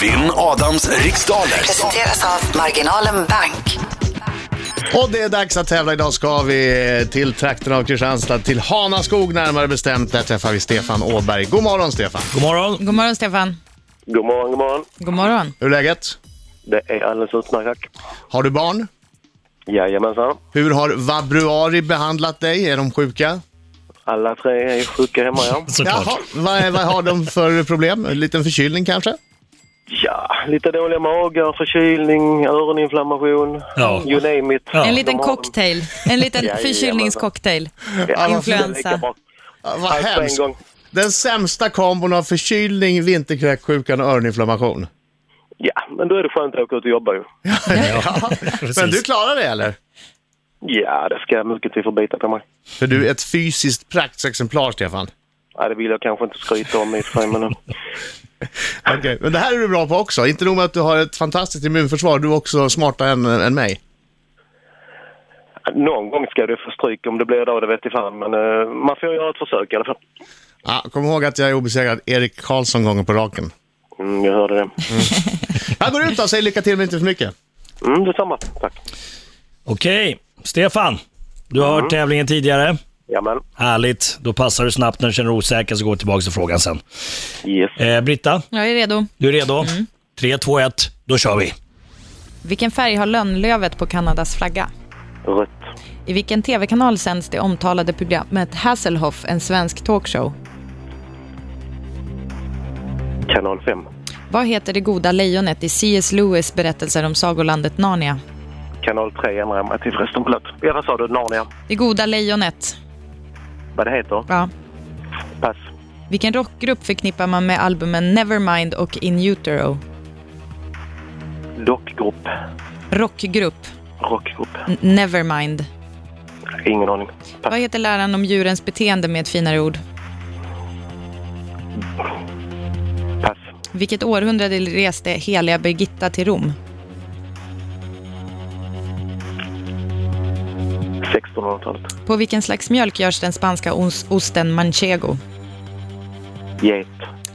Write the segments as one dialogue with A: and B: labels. A: Vinn Adams riksdaler.
B: Presenteras av Marginalen Bank.
C: Och det är dags att tävla. Idag ska vi till trakten av Kristianstad, till Hanaskog närmare bestämt. Där träffar vi Stefan Åberg. God morgon Stefan!
D: God morgon.
E: God morgon Stefan.
F: God morgon, god morgon.
E: God morgon.
C: Hur är läget?
F: Det är alldeles utmärkt, tack.
C: Har du barn?
F: Jajamensan.
C: Hur har vabruari behandlat dig? Är de sjuka?
F: Alla tre är sjuka hemma, ja.
D: Såklart.
C: vad, vad har de för problem? En liten förkylning kanske?
F: Ja, lite dåliga magar, förkylning, öroninflammation.
D: Ja.
F: You name it.
D: Ja.
E: En liten
F: God morgon.
E: cocktail. En liten
F: Jajamensan.
E: förkylningscocktail.
F: Ja,
E: influensa.
F: det är lika bra.
C: Ah, Vad
F: Allt på en
C: hemskt!
F: gång.
C: Den sämsta kombon av förkylning, vinterkräksjukan och öroninflammation.
F: Ja, men då är det skönt att åka ut och jobba ju.
D: Precis.
C: Men du klarar det eller?
F: Ja, det ska mycket till för att bita på mig.
C: För du är ett fysiskt praktexemplar Stefan.
F: Ja, det vill jag kanske inte skryta om i och för sig, men... eh,
C: Okej, Men det här är du bra på också. Inte nog med att du har ett fantastiskt immunförsvar, du är också smartare än, än mig.
F: Någon gång ska du få stryk om det blir idag, det vet jag fan. Men eh, man får göra ett försök i alla fall.
C: Ja, kom ihåg att jag är obesegrad Erik Karlsson gånger på raken.
F: Mm, jag hörde det.
C: Jag går ut och säger lycka till men inte för mycket.
F: Mm, detsamma. Tack.
D: Okej, Stefan. Du har hört tävlingen tidigare.
F: Jamen.
D: Härligt. Då passar du snabbt när du känner dig osäker så går vi tillbaka till frågan sen.
F: Yes.
D: Eh, Britta,
E: Jag är redo.
D: du är redo?
E: Mm.
D: Tre, två, ett. då kör vi.
E: Vilken färg har lönnlövet på Kanadas flagga?
F: Rött.
E: I vilken tv-kanal sänds det omtalade programmet Hasselhoff, en svensk talkshow?
F: Kanal 5.
E: Vad heter det goda lejonet i C.S. Lewis berättelser om sagolandet Narnia?
F: Kanal 3 ändrar jag mig till förresten, förlåt. Ja, vad sa du? Narnia?
E: Det goda lejonet.
F: Vad det heter?
E: Ja.
F: Pass.
E: Vilken rockgrupp förknippar man med albumen Nevermind och In Utero?
F: Dockgrupp.
E: Rockgrupp.
F: Rockgrupp.
E: N- Nevermind.
F: Ingen aning. Pass.
E: Vad heter läran om djurens beteende med ett finare ord?
F: Pass.
E: Vilket århundrade reste heliga Birgitta till Rom?
F: 1600-talet.
E: På vilken slags mjölk görs den spanska os- osten manchego?
F: Get.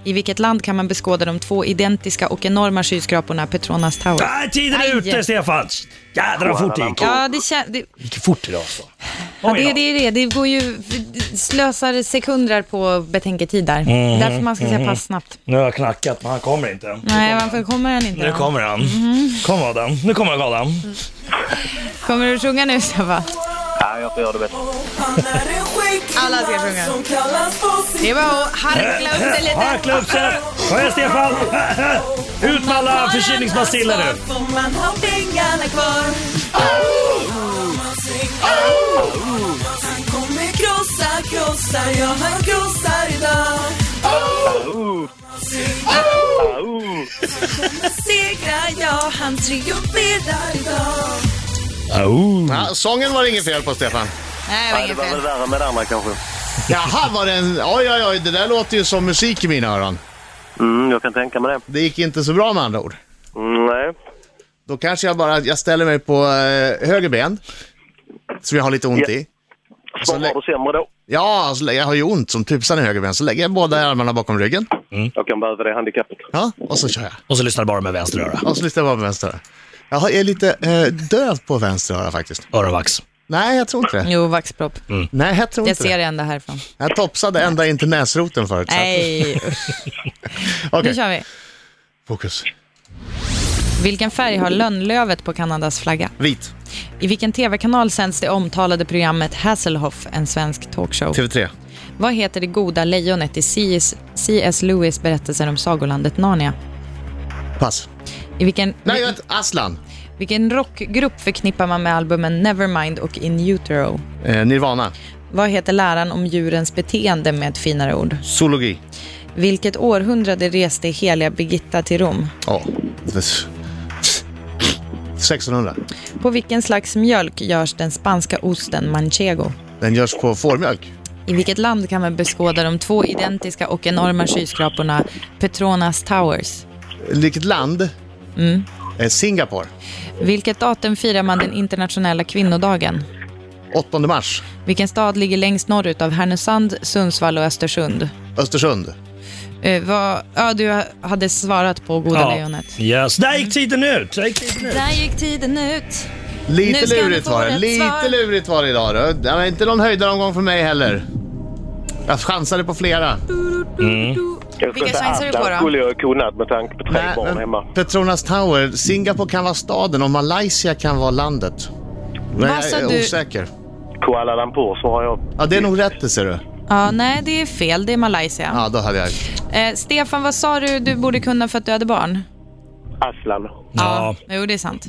E: I vilket land kan man beskåda de två identiska och enorma skyskraporna Petronas Tower?
D: Ah, tiden är
E: Aj.
D: ute, Stefan! Jädrar vad fort det gick.
E: Ja, det, kän- det,
D: Det gick fort idag alltså.
E: ja,
D: Oj
E: det,
D: då.
E: det är det. Det går ju det slösar sekunder på betänketid där.
D: Mm-hmm.
E: Därför man ska säga pass snabbt.
D: Nu har jag knackat, men han kommer inte.
E: Nej, Mm. varför kommer den inte
D: Nu
E: då?
D: kommer han. Kom Adam, nu kommer han Adam.
E: Mm. Kommer du sjunga nu, Stefan?
F: Ja, jag får göra det bättre.
E: Alla ska sjunga. Det är bara att harkla upp sig lite.
D: Harkla upp sig! Ah, Kom igen Stefan! Ut med alla förkylningsbaciller nu!
G: Får man ha pengarna kvar? Han kommer krossa, krossa, ja han krossar idag. Segra, ja han triumferar idag.
C: Ja, sången var det inget fel på Stefan.
E: Nej, det var
F: Det
E: inget
F: var väl
E: fel.
F: värre med det andra kanske.
C: Jaha, var det en... Oj, oj, oj, det där låter ju som musik i mina öron.
F: Mm, jag kan tänka mig det.
C: Det gick inte så bra med andra ord.
F: Mm, nej.
C: Då kanske jag bara, jag ställer mig på eh, höger ben, som jag har lite ont
F: Ja.
C: i. Så lä-
F: Svarar du sämre då?
C: Ja, så lä- jag har ju ont som tusan i höger ben, så lägger jag båda armarna bakom ryggen.
F: Jag kan behöva det handikappet.
C: Ja, och så kör jag.
D: Och så lyssnar du bara med vänster öra.
C: Och så lyssnar jag bara på vänster öra. Jag är lite eh, döv på vänster öra faktiskt.
D: Öronvax.
C: Nej, jag tror inte det.
E: Jo, vaxpropp.
C: Nej, jag tror
E: Mm. Jag
C: inte
E: ser
C: det.
E: det ända härifrån.
C: Jag topsade ända in till näsroten förut. så att-
E: Nej,
C: Okej,
E: nu kör vi.
C: fokus.
E: Vilken färg har lönnlövet på Kanadas flagga?
C: Vit.
E: I vilken tv-kanal sänds det omtalade programmet Hasselhoff, en svensk talkshow?
C: TV3.
E: Vad heter det goda lejonet i C.S. C.S. Lewis berättelser om sagolandet Narnia?
C: Pass.
E: I vilken,
C: Nej, jag vet, Aslan.
E: vilken rockgrupp förknippar man med albumen Nevermind och In Utero?
C: Eh, Nirvana.
E: Vad heter läran om djurens beteende med ett finare ord?
C: Zoologi.
E: Vilket århundrade reste heliga Birgitta till Rom?
C: Ja. Det- 1600.
E: På vilken slags mjölk görs den spanska osten manchego?
C: Den görs på fårmjölk.
E: I vilket land kan man beskåda de två identiska och enorma skyskraporna Petronas Towers?
C: Vilket land?
E: Mm.
C: Eh, Singapore.
E: Vilket datum firar man den internationella kvinnodagen?
C: 8 mars.
E: Vilken stad ligger längst norrut av Härnösand, Sundsvall och Östersund?
C: Östersund.
E: Eh, Eh, vad, ja, du hade svarat på Goda Lejonet.
D: Yes. Där gick tiden ut. Där gick tiden ut.
E: Där gick tiden ut.
C: Lite
E: Nu ska ni
C: lurigt
E: få
C: var det.
E: rätt
C: Lite
E: svar.
C: lurigt var det idag. Då. Det var inte någon höjdaromgång för mig heller. Jag chansade på flera.
F: Kanske
E: Vilka
F: inte
E: chanser du
F: Atlas
E: får då?
F: skulle jag kunnat med tanke på tre
C: Nej,
F: barn
C: men
F: hemma.
C: Petronas Tower. Singapore kan vara staden och Malaysia kan vara landet. Men
E: Vad
C: jag
E: sa
C: är
E: du?
C: osäker.
F: Kuala Lumpur svarar jag.
C: Ja, det är nog rätt det ser du.
E: Ja, nej, det är fel. Det är Malaysia.
C: Ja, då hade jag.
E: Eh, Stefan, vad sa du du borde kunna för att du hade barn?
F: Aslan.
D: Ja.
E: Jo, det är sant.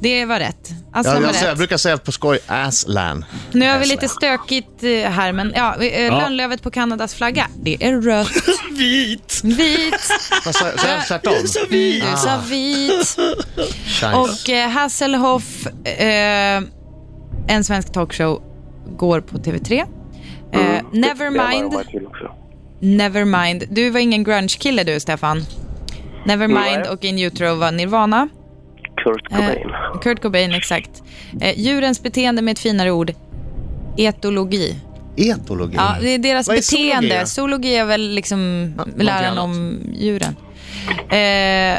E: Det var rätt. Alltså,
C: Jag,
E: var
C: jag, jag
E: rätt.
C: brukar säga på skoj, Aslan.
E: Nu har vi lite stökigt eh, här, men ja, eh, lönnlövet på Kanadas flagga, det är rött.
D: Vit.
E: Vit,
C: Vad sa jag? Sa jag tvärtom?
D: Så vit.
E: du sa vit.
C: Tjajs.
E: Och eh, Hasselhoff, eh, en svensk talkshow, går på TV3. Eh, Nevermind, Nevermind. Du var ingen grunge-kille du, Stefan. Nevermind
F: Nej.
E: och In Utero var Nirvana.
F: Kurt Cobain.
E: Eh, Kurt Cobain, exakt. Eh, djurens beteende med ett finare ord, etologi.
C: Etologi.
E: Ja, det är deras
C: Mm. Vad är zoologi?
E: beteende. Zoologi? är väl liksom
C: någonting
E: läran
C: annat.
E: om djuren. Eh,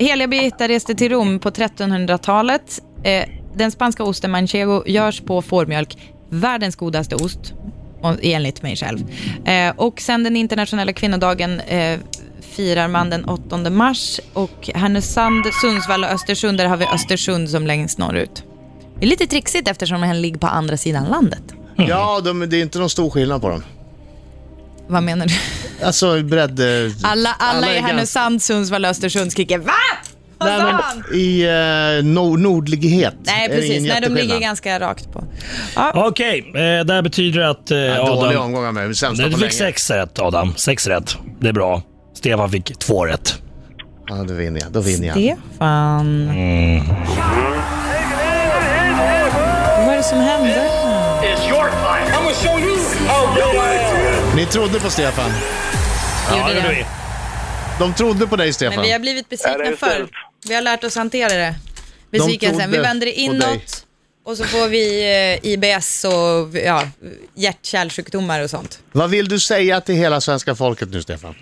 E: Heliga Birgitta reste till Rom på 1300-talet. Eh, den spanska osten manchego görs på fårmjölk. Världens godaste ost, och- enligt mig själv. Eh, och sen den internationella kvinnodagen eh, firar man den 8 mars. Och Härnösand, Sundsvall och Östersund, där har vi Östersund som längst norrut. Det är lite trixigt eftersom den ligger på andra sidan landet.
C: Ja, de, det är inte någon stor skillnad på dem.
E: Vad menar du?
C: Alltså bredd... eh,
E: Alla, alla, i
C: är ganska-
E: Härnösand, Sundsvall, Östersund skriker VA? Vad
C: Nej,
E: sa
C: men
E: han?
C: I eh, no, nordlighet
E: Nej,
C: är det
E: precis.
C: ingen
E: Nej, de
C: jätteskillnad.
E: ligger ganska rakt på. Ja,
D: Okej, eh, det här betyder att eh,
C: Ja, Dålig
D: Adam...
C: omgång av mig, sämsta
D: Du
C: på
D: fick
C: länge.
D: sex rätt Adam. Sex rätt. Det är bra. Stefan fick två rätt.
C: Ja, då vinner jag. Då vinner jag.
E: Stefan. Vad är det som hände?
C: Ni trodde på Stefan.
E: Gjorde
D: gjorde
E: det.
D: vi.
C: De trodde på dig, Stefan.
E: Men vi har blivit
F: Ja, det
E: besvikna
F: är
E: förr.
F: ställt.
E: Vi har lärt oss hantera det. Besvikelsen. Vi
C: trodde
E: vänder det
C: på dig.
E: inåt och så får vi eh, IBS och ja, hjärt-kärlsjukdomar och sånt.
C: Vad vill du säga till hela svenska folket nu, Stefan?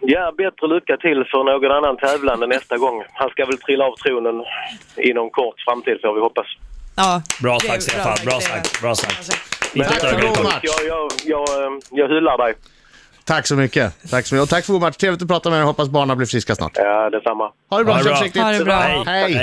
F: Ja, bättre lycka till för någon annan tävlande nästa gång. Han ska väl trilla av tronen inom kort framtid får vi hoppas.
E: Ja,
D: Bra
E: det är
D: sagt Stefan. Bra sagt. Bra sagt. Inte
C: Tack
D: ett
C: för
D: ögonblick.
C: god match.
F: Jag, jag, jag, eh, jag hyllar dig.
C: Tack så mycket. Tack, så mycket. Och tack för god match. Trevligt att prata med er. Hoppas barnen blir friska snart.
F: Ja, detsamma.
C: Ha det bra.
D: Ha det
C: Kör
D: bra.
C: försiktigt.
E: Ha det bra.
C: Hej.